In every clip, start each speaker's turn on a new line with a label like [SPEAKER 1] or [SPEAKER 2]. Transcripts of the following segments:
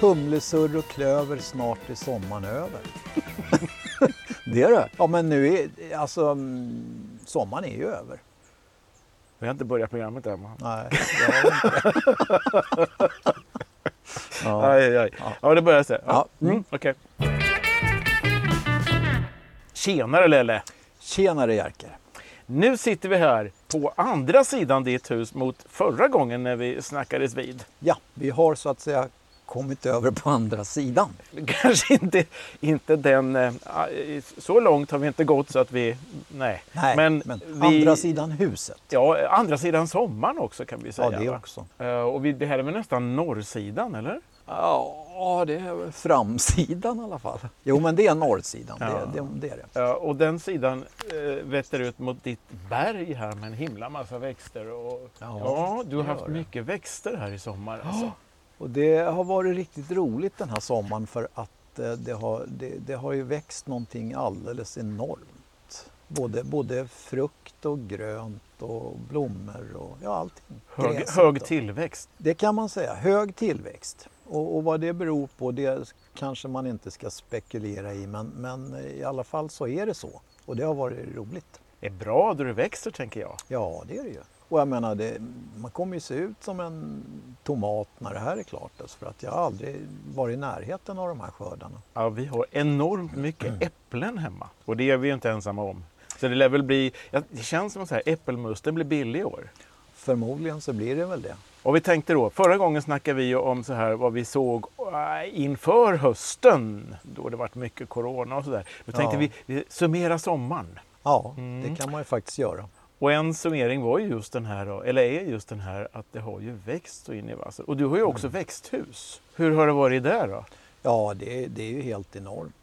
[SPEAKER 1] Humlesurr och klöver, snart är sommaren över. det är det. Ja men nu är, alltså, mm, sommaren är ju över.
[SPEAKER 2] Vi har inte börjat programmet än. va?
[SPEAKER 1] Nej, det har den inte. ja.
[SPEAKER 2] Aj, aj, aj. Ja. men det börjar se. Ja.
[SPEAKER 1] Ja.
[SPEAKER 2] Mm, Okej. Tjenare Lelle!
[SPEAKER 1] Tjenare Jerker.
[SPEAKER 2] Nu sitter vi här på andra sidan ditt hus mot förra gången när vi snackades vid.
[SPEAKER 1] Ja, vi har så att säga kommit över på andra sidan.
[SPEAKER 2] Kanske inte, inte den... eh, Så långt har vi inte gått så att vi... Nej.
[SPEAKER 1] Nej, men,
[SPEAKER 2] Men vi-
[SPEAKER 1] andra sidan huset.
[SPEAKER 2] Ja, andra sidan sommaren också kan vi
[SPEAKER 1] Ja,
[SPEAKER 2] säga.
[SPEAKER 1] det
[SPEAKER 2] va?
[SPEAKER 1] också.
[SPEAKER 2] Eh, Och vi, det här är väl nästan norrsidan, eller?
[SPEAKER 1] Ja, det är väl framsidan i alla fall. Jo, men det är norrsidan.
[SPEAKER 2] Ja.
[SPEAKER 1] Det, det, det är det.
[SPEAKER 2] Ja, och den sidan eh, vetter ut mot ditt berg här med en himla massa växter. Och,
[SPEAKER 1] Ja,
[SPEAKER 2] ja, du har
[SPEAKER 1] det
[SPEAKER 2] haft
[SPEAKER 1] gör det.
[SPEAKER 2] mycket växter här i sommar. Alltså.
[SPEAKER 1] Och det har varit riktigt roligt den här sommaren för att eh, det har, det, det har ju växt någonting alldeles enormt. Både, både frukt och grönt och blommor och ja, allting.
[SPEAKER 2] Hög,
[SPEAKER 1] Gräset
[SPEAKER 2] hög
[SPEAKER 1] då.
[SPEAKER 2] tillväxt.
[SPEAKER 1] Det kan man säga, hög tillväxt. Och, och vad det beror på det kanske man inte ska spekulera i men, men i alla fall så är det så. Och det har varit roligt.
[SPEAKER 2] är bra då det växer, tänker jag.
[SPEAKER 1] Ja, det är det ju. Och jag menar, det, man kommer ju se ut som en tomat när det här är klart. Alltså för att jag har aldrig varit i närheten av de här skördarna.
[SPEAKER 2] Ja, vi har enormt mycket äpplen hemma. Och det är vi ju inte ensamma om. Så det lär väl bli... ja, Det känns som att äppelmusten blir billig i år.
[SPEAKER 1] Förmodligen så blir det väl det.
[SPEAKER 2] Och vi tänkte då, förra gången snackade vi ju om så här vad vi såg äh, inför hösten. Då det varit mycket corona och sådär. Då tänkte
[SPEAKER 1] Ja.
[SPEAKER 2] vi, vi summera sommaren.
[SPEAKER 1] Ja,
[SPEAKER 2] Mm.
[SPEAKER 1] det kan man ju faktiskt göra.
[SPEAKER 2] Och en summering var ju just den här, då, eller är just den här, att det har ju växt så in i vassen. Och du har ju också växthus. Mm. Hur har det varit där då?
[SPEAKER 1] Ja, det, det är ju helt enormt.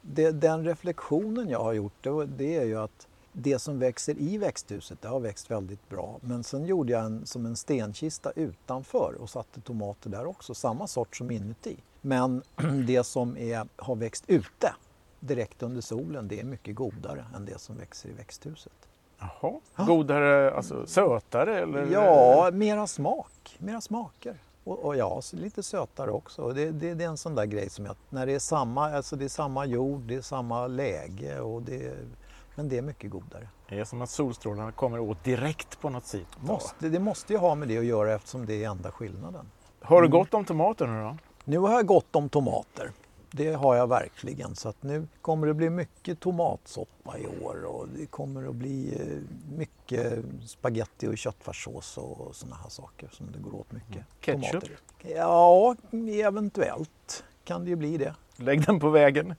[SPEAKER 1] Det, den reflektionen jag har gjort det, var- det är ju att det som växer i växthuset, det har växt väldigt bra. Men sen gjorde jag en, som en stenkista utanför och satte tomater där också, samma sort som inuti. Men det som är, har växt ute direkt under solen, det är mycket godare än det som växer i växthuset.
[SPEAKER 2] Jaha, godare, alltså sötare eller?
[SPEAKER 1] Ja, mera smak, mera smaker. Och, och ja, så lite sötare också. Och det, det, det är en sån där grej som jag, när det är samma, alltså det är samma jord, det är samma läge och det, är- men det är mycket godare.
[SPEAKER 2] Det är som att solstrålarna kommer åt direkt på något sätt. då.
[SPEAKER 1] Måste, det måste ju ha med det att göra eftersom det är enda skillnaden.
[SPEAKER 2] Har du gått om tomater nu då?
[SPEAKER 1] Nu har jag gott om tomater. Det har jag verkligen. Så att nu kommer det bli mycket tomatsoppa i år och det kommer att bli eh, mycket spaghetti och köttfärssås och sådana här saker som det går åt mycket.
[SPEAKER 2] Mm. Ketchup?
[SPEAKER 1] Tomater. Ja, eventuellt kan det ju bli det.
[SPEAKER 2] Lägg den på vägen.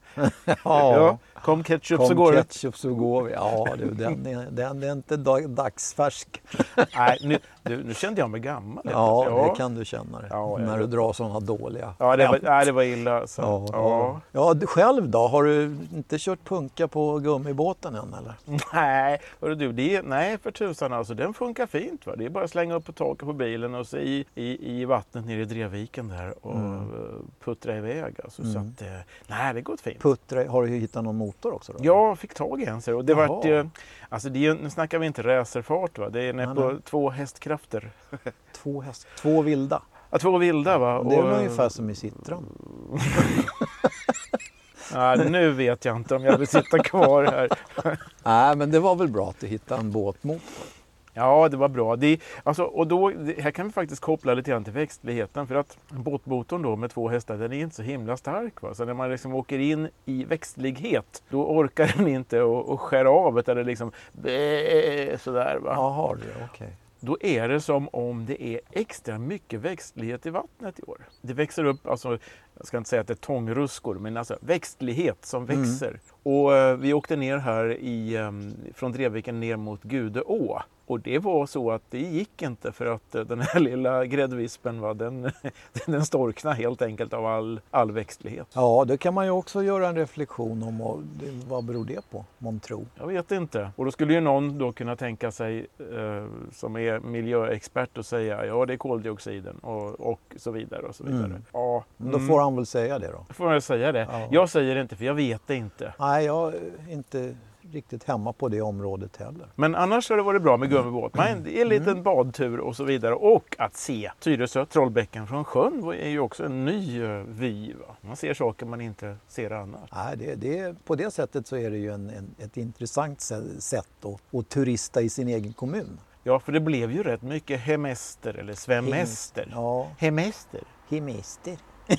[SPEAKER 2] kom ketchup
[SPEAKER 1] Kom
[SPEAKER 2] så går det.
[SPEAKER 1] ketchup så går vi. Ja du, den är, den är inte dag- dagsfärsk.
[SPEAKER 2] Nej, nu, du, nu kände jag mig gammal. lite.
[SPEAKER 1] Ja, det kan du känna det.
[SPEAKER 2] Ja, ja,
[SPEAKER 1] när du
[SPEAKER 2] ja.
[SPEAKER 1] drar sådana dåliga
[SPEAKER 2] ja, det, var,
[SPEAKER 1] skämt.
[SPEAKER 2] nej, det var illa. Så.
[SPEAKER 1] Ja,
[SPEAKER 2] Ja,
[SPEAKER 1] ja. ja, du själv då? Har du inte kört punka på gummibåten än eller?
[SPEAKER 2] Nej, hörru du, det är, nej för tusan alltså, den funkar fint. Va? Det är bara att slänga upp på taket på bilen och så i, i, i vattnet nere i Drevviken där och
[SPEAKER 1] Mm.
[SPEAKER 2] eh, puttra iväg. Alltså, så att, eh, nej, det går fint.
[SPEAKER 1] Puttra, har du hittat någon motor också? Då?
[SPEAKER 2] Jag fick tag i en ser du. och det
[SPEAKER 1] Jaha.
[SPEAKER 2] vart ju, alltså det är, ju- nu snackar vi inte racerfart va, det är
[SPEAKER 1] Nej,
[SPEAKER 2] nej,
[SPEAKER 1] nej.
[SPEAKER 2] på två hästkrafter.
[SPEAKER 1] Två, häst, två vilda.
[SPEAKER 2] Ja, två vilda va.
[SPEAKER 1] Det är
[SPEAKER 2] Och, eh,
[SPEAKER 1] väl ungefär som i Citron?
[SPEAKER 2] eh, nej, nu vet jag inte om jag vill sitta kvar här.
[SPEAKER 1] Nej, men det var väl bra att du hittade en båtmotor.
[SPEAKER 2] Ja, det var bra. Det, alltså, och då, det, här kan vi faktiskt koppla lite grann till växtligheten. För att båtmotorn då med två hästar, den är inte så himla stark. Va? Så när man liksom åker in i växtlighet, då orkar den inte och, och skära av det. Eller liksom bäh, sådär. Va?
[SPEAKER 1] Jaha, du, okej.
[SPEAKER 2] Då är det som om det är extra mycket växtlighet i vattnet i år. Det växer upp, alltså, jag ska inte säga att det är tångruskor, men alltså växtlighet som växer. Och eh, vi åkte ner här i, eh, från Drevviken ner mot Gudeå. Och det var så att det gick inte för att eh, den här lilla gräddvispen, va, den, den storknade helt enkelt av all, all växtlighet.
[SPEAKER 1] Ja, då kan man ju också göra en reflektion om och, det- vad beror det på, månntro?
[SPEAKER 2] Jag vet inte. Och då skulle ju någon då kunna tänka sig, eh, som är miljöexpert, och säga ja det är koldioxiden och, och så vidare. Och så vidare.
[SPEAKER 1] Mm.
[SPEAKER 2] Ja,
[SPEAKER 1] Då får han väl säga det då.
[SPEAKER 2] får jag säga det.
[SPEAKER 1] Ja.
[SPEAKER 2] Jag säger det inte för jag vet det inte.
[SPEAKER 1] Nej, jag är inte riktigt hemma på det området heller.
[SPEAKER 2] Men annars har det varit bra med gummibåt. Man, det är en liten
[SPEAKER 1] Mm.
[SPEAKER 2] badtur och så vidare. Och att se Tyresö, Trollbäcken från sjön är ju också en ny eh, vy. Va? Man ser saker man inte ser annars.
[SPEAKER 1] Nej, det, det, på det sättet så är det ju en, en, ett intressant sä- sätt att, att turista i sin egen kommun.
[SPEAKER 2] Ja, för det blev ju rätt mycket hemester eller svemester.
[SPEAKER 1] Ja,
[SPEAKER 2] Hemester?
[SPEAKER 1] hemister.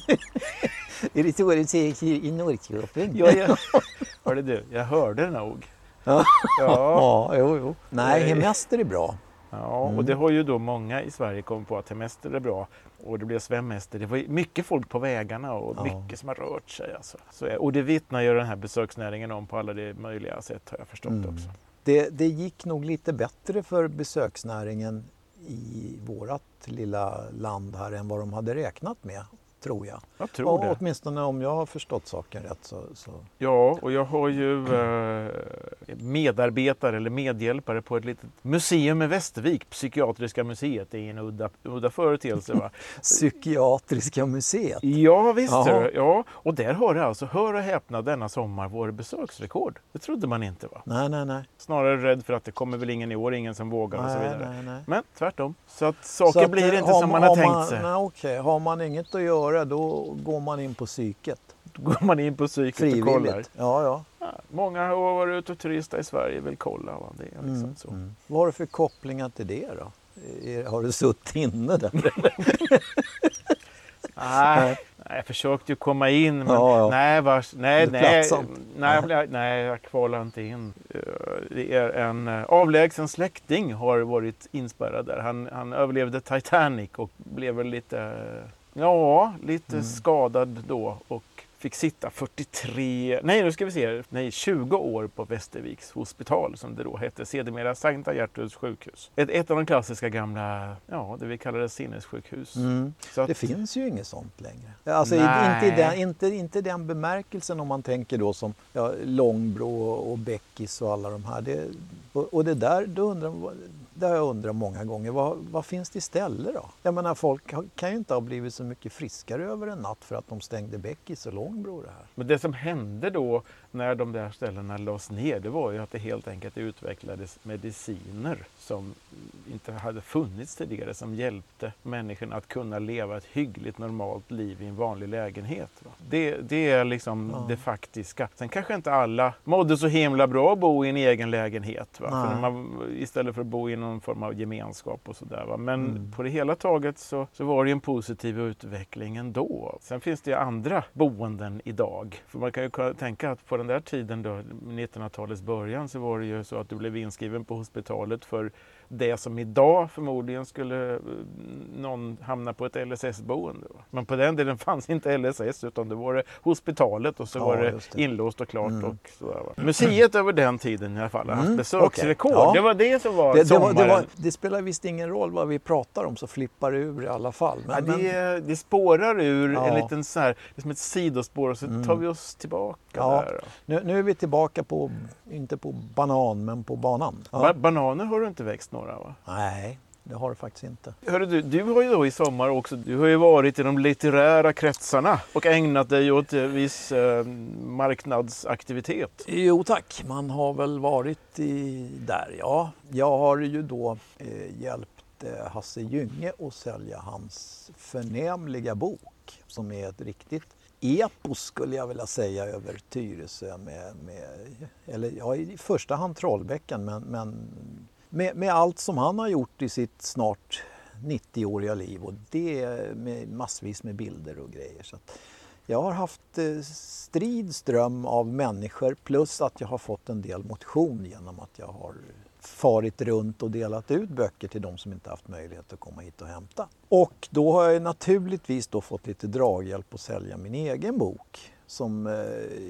[SPEAKER 1] är det så du säger i Norrköping?
[SPEAKER 2] Ja, jag, hörde du, jag hörde nog.
[SPEAKER 1] Ja.
[SPEAKER 2] Ja.
[SPEAKER 1] Ja, jo, jo. Nej,
[SPEAKER 2] Nej.
[SPEAKER 1] hemester är bra.
[SPEAKER 2] ja, och
[SPEAKER 1] Mm.
[SPEAKER 2] det har ju då många i Sverige kommit på att hemester är bra och det blev svemester. Det var ju mycket folk på vägarna och
[SPEAKER 1] Ja.
[SPEAKER 2] mycket som har rört sig. Alltså. Så, är- och det vittnar ju den här besöksnäringen om på alla de möjliga sätt har jag förstått
[SPEAKER 1] Mm.
[SPEAKER 2] också.
[SPEAKER 1] Det, det gick nog lite bättre för besöksnäringen i vårat lilla land här än vad de hade räknat med, tror jag.
[SPEAKER 2] Jag tror
[SPEAKER 1] ja,
[SPEAKER 2] det.
[SPEAKER 1] Åtminstone om jag har förstått saken rätt. Så, så.
[SPEAKER 2] Ja, och jag har ju eh, medarbetare eller medhjälpare på ett litet museum i Västervik, Psykiatriska museet. Det är en udda, udda företeelse. Va?
[SPEAKER 1] Psykiatriska museet.
[SPEAKER 2] Ja, visst
[SPEAKER 1] Jaha.
[SPEAKER 2] du. Ja, och där har det alltså, hör och häpna, denna sommar vår besöksrekord. Det trodde man inte va?
[SPEAKER 1] Nej, nej, nej.
[SPEAKER 2] Snarare rädd för att det kommer väl ingen i år, ingen som vågar och så
[SPEAKER 1] nej,
[SPEAKER 2] vidare.
[SPEAKER 1] nej, nej.
[SPEAKER 2] Men tvärtom. Så att saker
[SPEAKER 1] Så att,
[SPEAKER 2] blir
[SPEAKER 1] eh,
[SPEAKER 2] inte
[SPEAKER 1] har
[SPEAKER 2] som
[SPEAKER 1] ma-
[SPEAKER 2] man har
[SPEAKER 1] har
[SPEAKER 2] tänkt sig.
[SPEAKER 1] Nej, okej. Har man inget att göra då går man in på psyket.
[SPEAKER 2] Då går man in på psyket och kollar.
[SPEAKER 1] Frivilligt. Ja, ja.
[SPEAKER 2] Ja, många har varit ute och turistat i Sverige vill kolla. Va? Det är liksom
[SPEAKER 1] Mm,
[SPEAKER 2] så.
[SPEAKER 1] mm. Vad har du för kopplingar till det då? Är- Har du suttit inne där?
[SPEAKER 2] Nej, nej, jag försökte ju komma in men
[SPEAKER 1] Ja, ja.
[SPEAKER 2] nej, vars, nej,
[SPEAKER 1] Du
[SPEAKER 2] nej,
[SPEAKER 1] platsade
[SPEAKER 2] nej, nej, nej, jag kvalade inte in. Eh, Det är en eh, avlägsen släkting har varit inspärrad där. Han, han överlevde Titanic och blev väl lite, eh, ja, lite
[SPEAKER 1] Mm.
[SPEAKER 2] skadad då och fick sitta 43, nej nu ska vi se, nej 20 år på Västerviks hospital som det då hette, sedermera Sankta Gertruds sjukhus. Ett, ett av de klassiska gamla, ja, det vi kallade sinnessjukhus.
[SPEAKER 1] Mm.
[SPEAKER 2] Så att-
[SPEAKER 1] Det finns ju inget sånt längre. Alltså i-
[SPEAKER 2] Nej.
[SPEAKER 1] inte, i den, inte, inte i den bemärkelsen om man tänker då som ja, Långbro och Bäckis och alla de här. Det, och, och det där, då undrar, man- det har jag undrat många gånger. Vad, vad finns det istället då? Jag menar folk har- kan ju inte ha blivit så mycket friskare över en natt för att de stängde Bäckis och Långbro och det här.
[SPEAKER 2] Men det som hände då när de där ställena lades ner, det var ju att det helt enkelt utvecklades mediciner som inte hade funnits tidigare, som hjälpte människorna att kunna leva ett hyggligt normalt liv i en vanlig lägenhet. Va? Det, det är liksom
[SPEAKER 1] Ja.
[SPEAKER 2] det faktiska. Sen kanske inte alla mådde så himla bra att bo i en egen lägenhet. Va? För
[SPEAKER 1] Nej.
[SPEAKER 2] när man, istället för att bo i någon form av gemenskap och sådär. va. Men
[SPEAKER 1] Mm.
[SPEAKER 2] på det hela taget så, så var det ju en positiv utveckling ändå. Sen finns det ju andra boenden idag. För man kan ju kunna tänka att på den där tiden då, 1900-talets början, så var det ju så att du blev inskriven på hospitalet för det som idag förmodligen skulle eh, någon hamna på ett LSS-boende. va. Men på den tiden fanns inte LSS utan det var det hospitalet och så
[SPEAKER 1] Ja,
[SPEAKER 2] var det,
[SPEAKER 1] just det.
[SPEAKER 2] inlåst och klart.
[SPEAKER 1] Mm.
[SPEAKER 2] Och sådär, va. Museet över den tiden i alla fall har haft
[SPEAKER 1] Mm,
[SPEAKER 2] besöksrekord.
[SPEAKER 1] okej. Ja.
[SPEAKER 2] Det var det som var
[SPEAKER 1] Det, det, var,
[SPEAKER 2] sommaren.
[SPEAKER 1] det, var, det spelar visst ingen roll vad vi pratar om så flippar det ur i alla fall. Men,
[SPEAKER 2] Ja,
[SPEAKER 1] men-
[SPEAKER 2] det, det spårar ur
[SPEAKER 1] Ja. Mm.
[SPEAKER 2] en liten så här, det är som ett sidospår och så tar vi oss tillbaka
[SPEAKER 1] Ja.
[SPEAKER 2] där. då.
[SPEAKER 1] nu, nu är vi tillbaka på, inte på banan, men på banan. Ja.
[SPEAKER 2] Ba- bananer har du inte växt några va?
[SPEAKER 1] Nej, det har det faktiskt inte.
[SPEAKER 2] Hörru du, du har ju då i sommar också, du har ju varit i de litterära kretsarna och ägnat dig åt eh, viss eh, marknadsaktivitet.
[SPEAKER 1] Jo tack, man har väl varit i, där ja. Jag har ju då eh, hjälpt eh, Hasse Gynge att sälja hans förnämliga bok som är ett riktigt epos skulle jag vilja säga över Tyresö med, med eller ja, i första hand Trollbäcken men, men med, med allt som han har gjort i sitt snart 90-åriga liv och det är med massvis med bilder och grejer. Så att, jag har haft eh, strid ström av människor plus att jag har fått en del motion genom att jag har farit runt och delat ut böcker till de som inte haft möjlighet att komma hit och hämta. Och då har jag ju naturligtvis då fått lite draghjälp att sälja min egen bok. Som eh,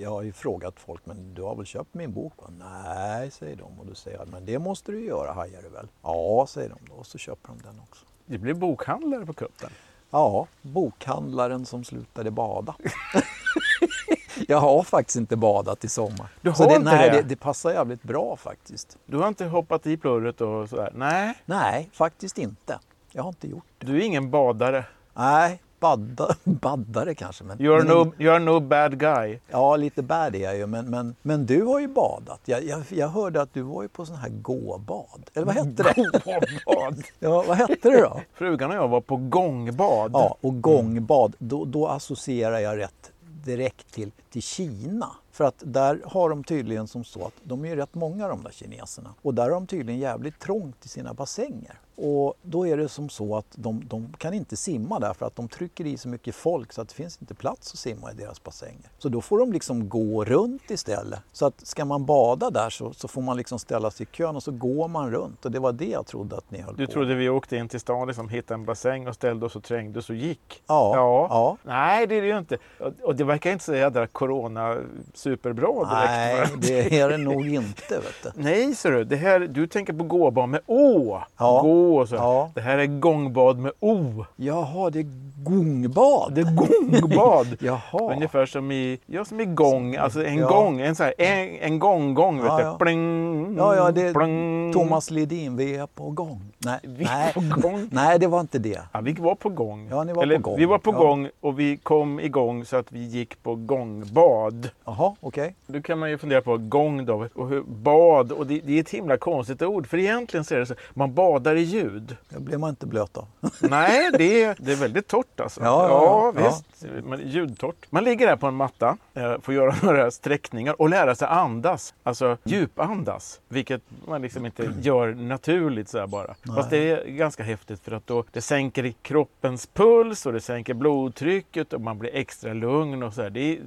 [SPEAKER 1] jag har ju frågat folk, men du har väl köpt min bok? Va? Nej, säger de. Och då säger jag, men det måste du göra, hajar du väl? Ja, säger de då. Och så köper de den också.
[SPEAKER 2] Du blev bokhandlare på kuppen.
[SPEAKER 1] Ja, bokhandlaren som slutade bada. jag har faktiskt inte badat i sommar.
[SPEAKER 2] Du
[SPEAKER 1] Så
[SPEAKER 2] har
[SPEAKER 1] det,
[SPEAKER 2] inte
[SPEAKER 1] nej,
[SPEAKER 2] det?
[SPEAKER 1] det? Det passar jävligt bra faktiskt.
[SPEAKER 2] Du har inte hoppat i plurret och sådär? Nej,
[SPEAKER 1] Nej, faktiskt inte. Jag har inte gjort.
[SPEAKER 2] du är ingen badare.
[SPEAKER 1] Nej, badda, baddare kanske. Men,
[SPEAKER 2] You're
[SPEAKER 1] men
[SPEAKER 2] no, you're no bad guy.
[SPEAKER 1] Ja, lite bad är jag ju. Men, men, men du har ju badat. Jag, jag, jag hörde att du var ju på sån här gåbad. Eller vad hette det?
[SPEAKER 2] Gångbad.
[SPEAKER 1] Ja, vad hette det då?
[SPEAKER 2] Frugan och jag var på gångbad.
[SPEAKER 1] Ja, och mm. gångbad. Då, då associerar jag rätt direkt till, till Kina. För att där har de tydligen som så att de är ju rätt många de där kineserna. Och där har de tydligen jävligt trångt i sina bassänger. Och då är det som så att de, de kan inte simma där för att de trycker i så mycket folk så att det finns inte plats att simma i deras bassänger. Så då får de liksom gå runt istället. Så att ska man bada där så, så får man liksom ställa sig i kön och så går man runt. Och det var det jag trodde att ni höll
[SPEAKER 2] Du
[SPEAKER 1] på
[SPEAKER 2] trodde vi åkte in till stan, liksom, hittade en bassäng och ställde oss och trängdes och gick.
[SPEAKER 1] Ja, ja.
[SPEAKER 2] Nej, det är det ju inte. Och- Och det verkar inte så jädra corona superbra direkt.
[SPEAKER 1] Nej,
[SPEAKER 2] va?
[SPEAKER 1] det är det nog inte. Vet du.
[SPEAKER 2] Nej, ser du. Det här, du tänker på gåbad med å.
[SPEAKER 1] Ja.
[SPEAKER 2] Gå och så.
[SPEAKER 1] Ja.
[SPEAKER 2] Det här är gångbad med o.
[SPEAKER 1] Jaha, det är gongbad.
[SPEAKER 2] Det är gångbad.
[SPEAKER 1] Jaha.
[SPEAKER 2] Ungefär som i, ja, som i gång, alltså en
[SPEAKER 1] Ja.
[SPEAKER 2] gång, en, så här, en, en gång-gång. Vet
[SPEAKER 1] Ja,
[SPEAKER 2] du.
[SPEAKER 1] ja.
[SPEAKER 2] Pling,
[SPEAKER 1] Ja, ja, det
[SPEAKER 2] pling.
[SPEAKER 1] är Thomas Ledin, vi är på gång. Nej,
[SPEAKER 2] Vi är
[SPEAKER 1] nej,
[SPEAKER 2] på gång.
[SPEAKER 1] nej det var inte det.
[SPEAKER 2] Ja, vi var på gång.
[SPEAKER 1] Ja, ni var
[SPEAKER 2] Eller,
[SPEAKER 1] på gång.
[SPEAKER 2] Vi var på
[SPEAKER 1] Ja.
[SPEAKER 2] gång och vi kom igång så att vi gick på gångbad.
[SPEAKER 1] Jaha, okej.
[SPEAKER 2] Då kan man ju fundera på gång då, och hur, bad, och det, det är ett himla konstigt ord. För egentligen så är det så, man badar i ljud.
[SPEAKER 1] Det blev man inte blöt av.
[SPEAKER 2] Nej, det är, det är väldigt torrt alltså.
[SPEAKER 1] Ja, ja, ja.
[SPEAKER 2] visst. Men ljudtorrt. Man ligger där på en matta, eh, får göra några sträckningar och lära sig andas. Alltså djupandas, vilket man liksom inte gör naturligt så här bara. Fast det är ganska häftigt för att då det sänker kroppens puls och det sänker blodtrycket och man blir extra lugn och så här. Det är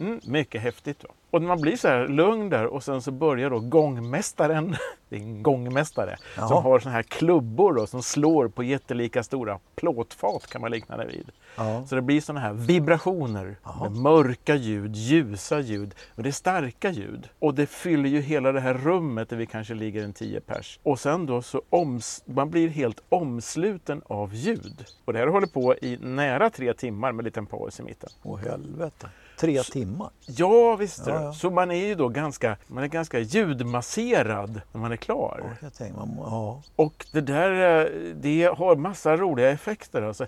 [SPEAKER 2] mm, mycket häftigt. Va? Och när man blir så här lugn där och sen så börjar då gångmästaren, det är en gångmästare,
[SPEAKER 1] Jaha.
[SPEAKER 2] som har såna här klubbor då, som slår på jättelika stora plåtfat kan man likna det vid.
[SPEAKER 1] Ja.
[SPEAKER 2] Så det blir såna här vibrationer med mörka ljud, ljusa ljud och det är starka ljud. Och det fyller ju hela det här rummet där vi kanske ligger en tio pers. Och sen då så oms- man blir helt omsluten av ljud. Och det här håller på i nära tre timmar med en liten paus i mitten.
[SPEAKER 1] Åh helvete. Tre timmar.
[SPEAKER 2] Ja, visst är
[SPEAKER 1] Ja,
[SPEAKER 2] det.
[SPEAKER 1] ja.
[SPEAKER 2] Så man är ju då ganska, man är ganska ljudmasserad när man är klar.
[SPEAKER 1] Ja, Jag tänkte, man, må- ja.
[SPEAKER 2] Och det där eh, det har massa roliga effekter. Alltså.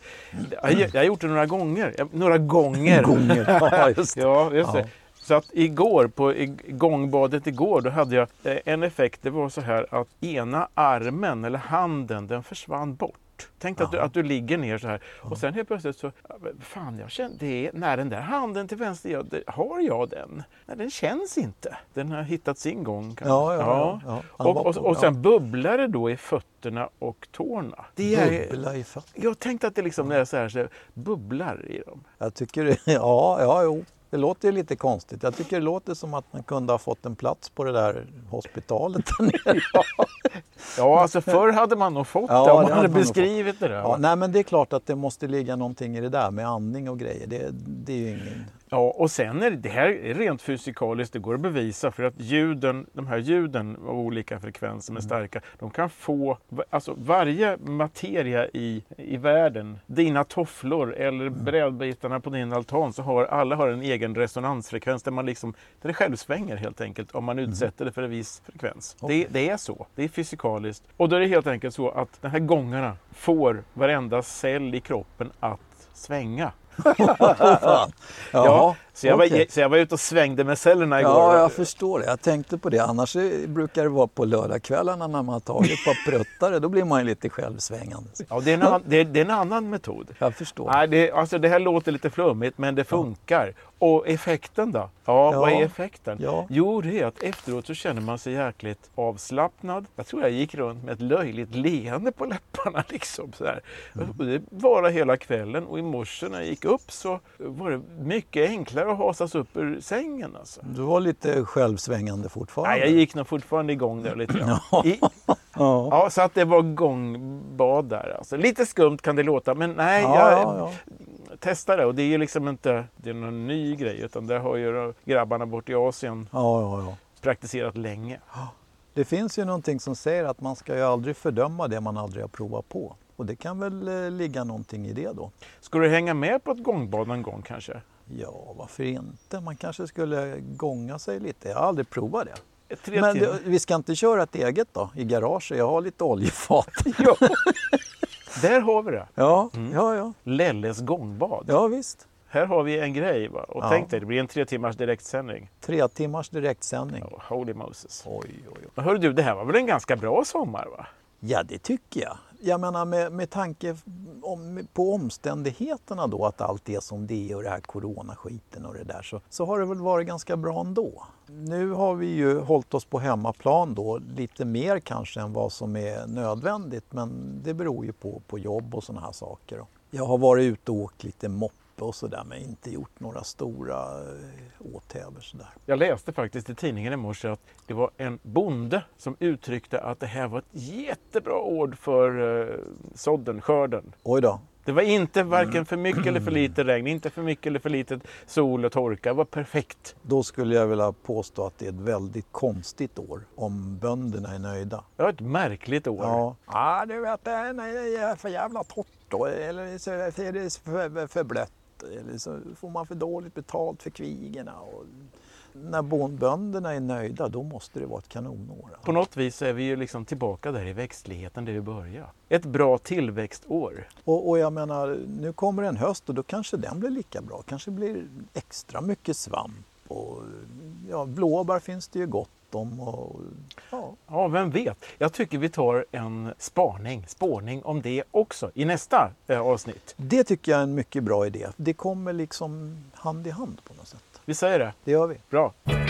[SPEAKER 2] Jag, jag har gjort det några gånger. Jag- Några gånger!
[SPEAKER 1] Gånger. Ja, just det.
[SPEAKER 2] Ja, just
[SPEAKER 1] Ja.
[SPEAKER 2] det. Så att igår, på i- gångbadet igår, då hade jag eh, en effekt. Det var så här att ena armen eller handen, den försvann bort. Tänk dig att du, att du ligger ner så här och sen helt plötsligt så, ja, men fan jag känner, det är, när den där handen till vänster, ja, det, har jag den? Nej, den känns inte. Den har hittat sin gång. kanske.
[SPEAKER 1] Ja, ja, ja, ja. Han var
[SPEAKER 2] Och, och,
[SPEAKER 1] på,
[SPEAKER 2] och
[SPEAKER 1] ja.
[SPEAKER 2] sen bubblar det då i fötterna och tårna. Det är,
[SPEAKER 1] Bubbla i fötterna.
[SPEAKER 2] jag tänkte att det liksom det är så här, så bubblar i dem.
[SPEAKER 1] Jag tycker det, ja, ja, jo. Det låter ju lite konstigt. Jag tycker det låter som att man kunde ha fått en plats på det där hospitalet där nere.
[SPEAKER 2] Ja, alltså förr hade man nog fått
[SPEAKER 1] Ja,
[SPEAKER 2] det om
[SPEAKER 1] det
[SPEAKER 2] man
[SPEAKER 1] hade
[SPEAKER 2] hade
[SPEAKER 1] man nog
[SPEAKER 2] beskrivit det där.
[SPEAKER 1] Ja,
[SPEAKER 2] Ja,
[SPEAKER 1] nej, men det är klart att det måste ligga någonting i det där med andning och grejer. Det, det är ju ingen...
[SPEAKER 2] och sen är det, det här är rent fysikaliskt, det går att bevisa för att ljuden, de här ljuden av olika frekvenser med starka, de kan få, alltså varje materia i, i världen, dina tofflor eller brädbitarna på din altan, så har alla har en egen resonansfrekvens där man liksom, där det självsvänger helt enkelt om man utsätter det för en viss frekvens. Det, det är så, det är fysikaliskt. Och då är det helt enkelt så att de här gångarna får varenda cell i kroppen att svänga.
[SPEAKER 1] Fan.
[SPEAKER 2] Ja, så jag,
[SPEAKER 1] okej.
[SPEAKER 2] var, så jag var ute och svängde med cellerna igår.
[SPEAKER 1] Ja, jag förstår det. Jag tänkte på det. Annars eh, brukar det vara på lördagskvällarna när man har tagit ett par pruttare. Då blir man ju lite självsvängande.
[SPEAKER 2] Ja, det, är en annan, det, är, det är en annan metod.
[SPEAKER 1] Jag förstår.
[SPEAKER 2] Nej, det, alltså det här låter lite flummigt, men det funkar. Och effekten då? Ja, vad är effekten?
[SPEAKER 1] Ja.
[SPEAKER 2] Jo, det är att efteråt så känner man sig jäkligt avslappnad. Jag tror jag gick runt med ett löjligt leende på läpparna. Liksom, så här.
[SPEAKER 1] Mm.
[SPEAKER 2] Och det var det hela kvällen och i morse när jag gick upp så var det mycket enklare att hasas upp ur sängen. Alltså.
[SPEAKER 1] Du var lite självsvängande fortfarande.
[SPEAKER 2] Nej, jag gick nog fortfarande igång där lite grann.
[SPEAKER 1] Ja.
[SPEAKER 2] I,
[SPEAKER 1] Ja,
[SPEAKER 2] Ja, så att det var gångbad där. Alltså, lite skumt kan det låta, men nej,
[SPEAKER 1] ja,
[SPEAKER 2] jag
[SPEAKER 1] ja.
[SPEAKER 2] testade. Och det är ju liksom inte det är någon ny grej, utan det har ju grabbarna bort i Asien
[SPEAKER 1] ja, ja, ja.
[SPEAKER 2] praktiserat länge.
[SPEAKER 1] Det finns ju någonting som säger att man ska ju aldrig fördöma det man aldrig har provat på. Och det kan väl eh, ligga någonting i det då.
[SPEAKER 2] Ska du hänga med på ett gångbad någon gång kanske?
[SPEAKER 1] Ja, varför inte? Man kanske skulle gånga sig lite. Jag har aldrig provat det.
[SPEAKER 2] Ett Tre
[SPEAKER 1] Men
[SPEAKER 2] timmar.
[SPEAKER 1] det, vi ska inte köra ett eget då, i garaget? Jag har lite oljefat.
[SPEAKER 2] Ja. Där har vi det!
[SPEAKER 1] Ja,
[SPEAKER 2] Mm.
[SPEAKER 1] ja, ja.
[SPEAKER 2] Lelles gångbad.
[SPEAKER 1] ja visst.
[SPEAKER 2] Här har vi en grej. Va? Och
[SPEAKER 1] Ja.
[SPEAKER 2] tänk dig, det blir en tre timmars direktsändning.
[SPEAKER 1] Tre timmars direktsändning.
[SPEAKER 2] Ja, holy Moses.
[SPEAKER 1] Oj, oj, oj.
[SPEAKER 2] Men Hörru du, det här var väl en ganska bra sommar? va?
[SPEAKER 1] Ja, det tycker jag. Jag menar med, med tanke f- om, på omständigheterna då att allt är som det är och det här coronaskiten och det där så, så har det väl varit ganska bra ändå. Nu har vi ju hållit oss på hemmaplan då lite mer kanske än vad som är nödvändigt men det beror ju på, på jobb och sådana här saker. då. Jag har varit ute och åkt lite moppe och sådär men inte gjort några stora eh, åthävor sådär.
[SPEAKER 2] Jag läste faktiskt i tidningen i morse att det var en bonde som uttryckte att det här var ett jättebra år för eh, sådden, skörden.
[SPEAKER 1] Oj då,
[SPEAKER 2] Det var inte varken för mycket eller för lite regn, inte för mycket eller för lite sol och torka. Det var perfekt.
[SPEAKER 1] Då skulle jag vilja påstå att det är ett väldigt konstigt år om bönderna är nöjda.
[SPEAKER 2] Det var ett märkligt år.
[SPEAKER 1] Ja, ja du vet det är- nej, det är för jävla torrt då eller så är det för, för blött eller så får man för dåligt betalt för kvigorna. Och när bon- bönderna är nöjda då måste det vara ett kanonår.
[SPEAKER 2] På något vis så är vi ju liksom tillbaka där i växtligheten där vi började. Ett bra tillväxtår.
[SPEAKER 1] Och, och jag menar, nu kommer en höst och då kanske den blir lika bra. Kanske blir extra mycket svamp och ja, blåbär finns det ju gott om. Och, ja.
[SPEAKER 2] Ja, vem vet? Jag tycker vi tar en spaning, spårning om det också i nästa eh, avsnitt.
[SPEAKER 1] Det tycker jag är en mycket bra idé. Det kommer liksom hand i hand på något sätt.
[SPEAKER 2] Vi säger det.
[SPEAKER 1] Det gör vi.
[SPEAKER 2] Bra.